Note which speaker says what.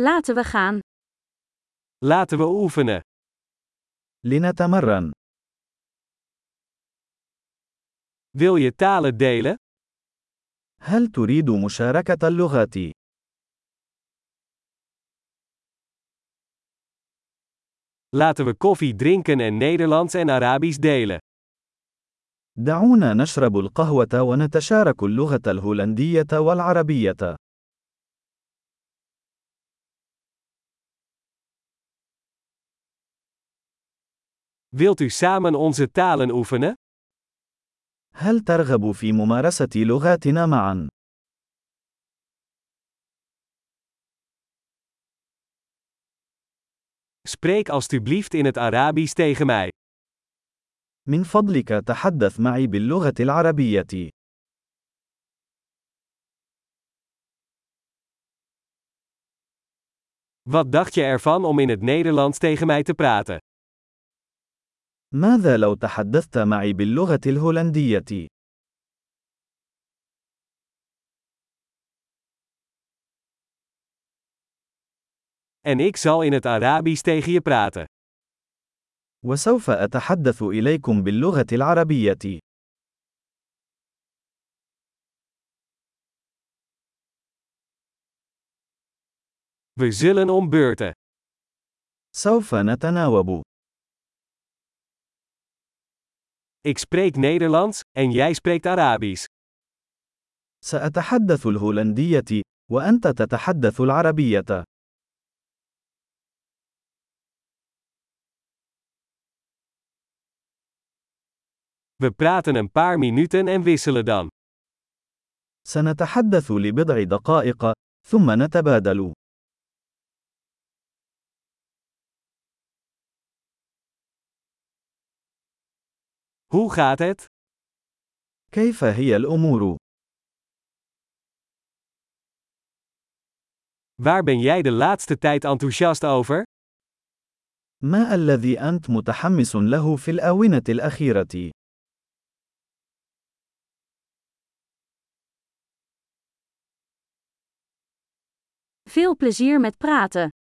Speaker 1: Laten we gaan.
Speaker 2: Laten we oefenen.
Speaker 3: لنتمرن.
Speaker 2: Wil je talen delen?
Speaker 3: هل تريد مشاركة اللغات؟
Speaker 2: Laten we koffie drinken en Nederlands en Arabisch delen.
Speaker 3: دعونا نشرب القهوة ونتشارك اللغة الهولندية والعربية.
Speaker 2: Wilt u samen onze talen oefenen?
Speaker 3: هل ترغب في ممارسة لغاتنا معا؟
Speaker 2: Spreek alstublieft in het Arabisch tegen mij.
Speaker 3: من فضلك تحدث معي باللغة العربية.
Speaker 2: Wat dacht je ervan om in het Nederlands tegen mij te praten?
Speaker 3: ماذا لو تحدثت معي باللغة الهولندية؟
Speaker 2: En ik zal in het Arabisch tegen je praten.
Speaker 3: وسوف أتحدث إليكم باللغة العربية.
Speaker 2: We zullen om beurten.
Speaker 3: سوف نتناوب.
Speaker 2: Ik spreek Nederlands en jij spreekt Arabisch.
Speaker 3: سأتحدث الهولندية، وأنت تتحدث العربية.
Speaker 2: We praten een paar minuten en wisselen dan.
Speaker 3: سنتحدث لبضع دقائق، ثم نتبادل.
Speaker 2: Hoe gaat het?
Speaker 3: كيف هي الأمور؟
Speaker 2: Waar ben jij de laatste tijd enthousiast over?
Speaker 3: ما الذي أنت متحمس له في الآونة الأخيرة؟
Speaker 1: Veel plezier met praten.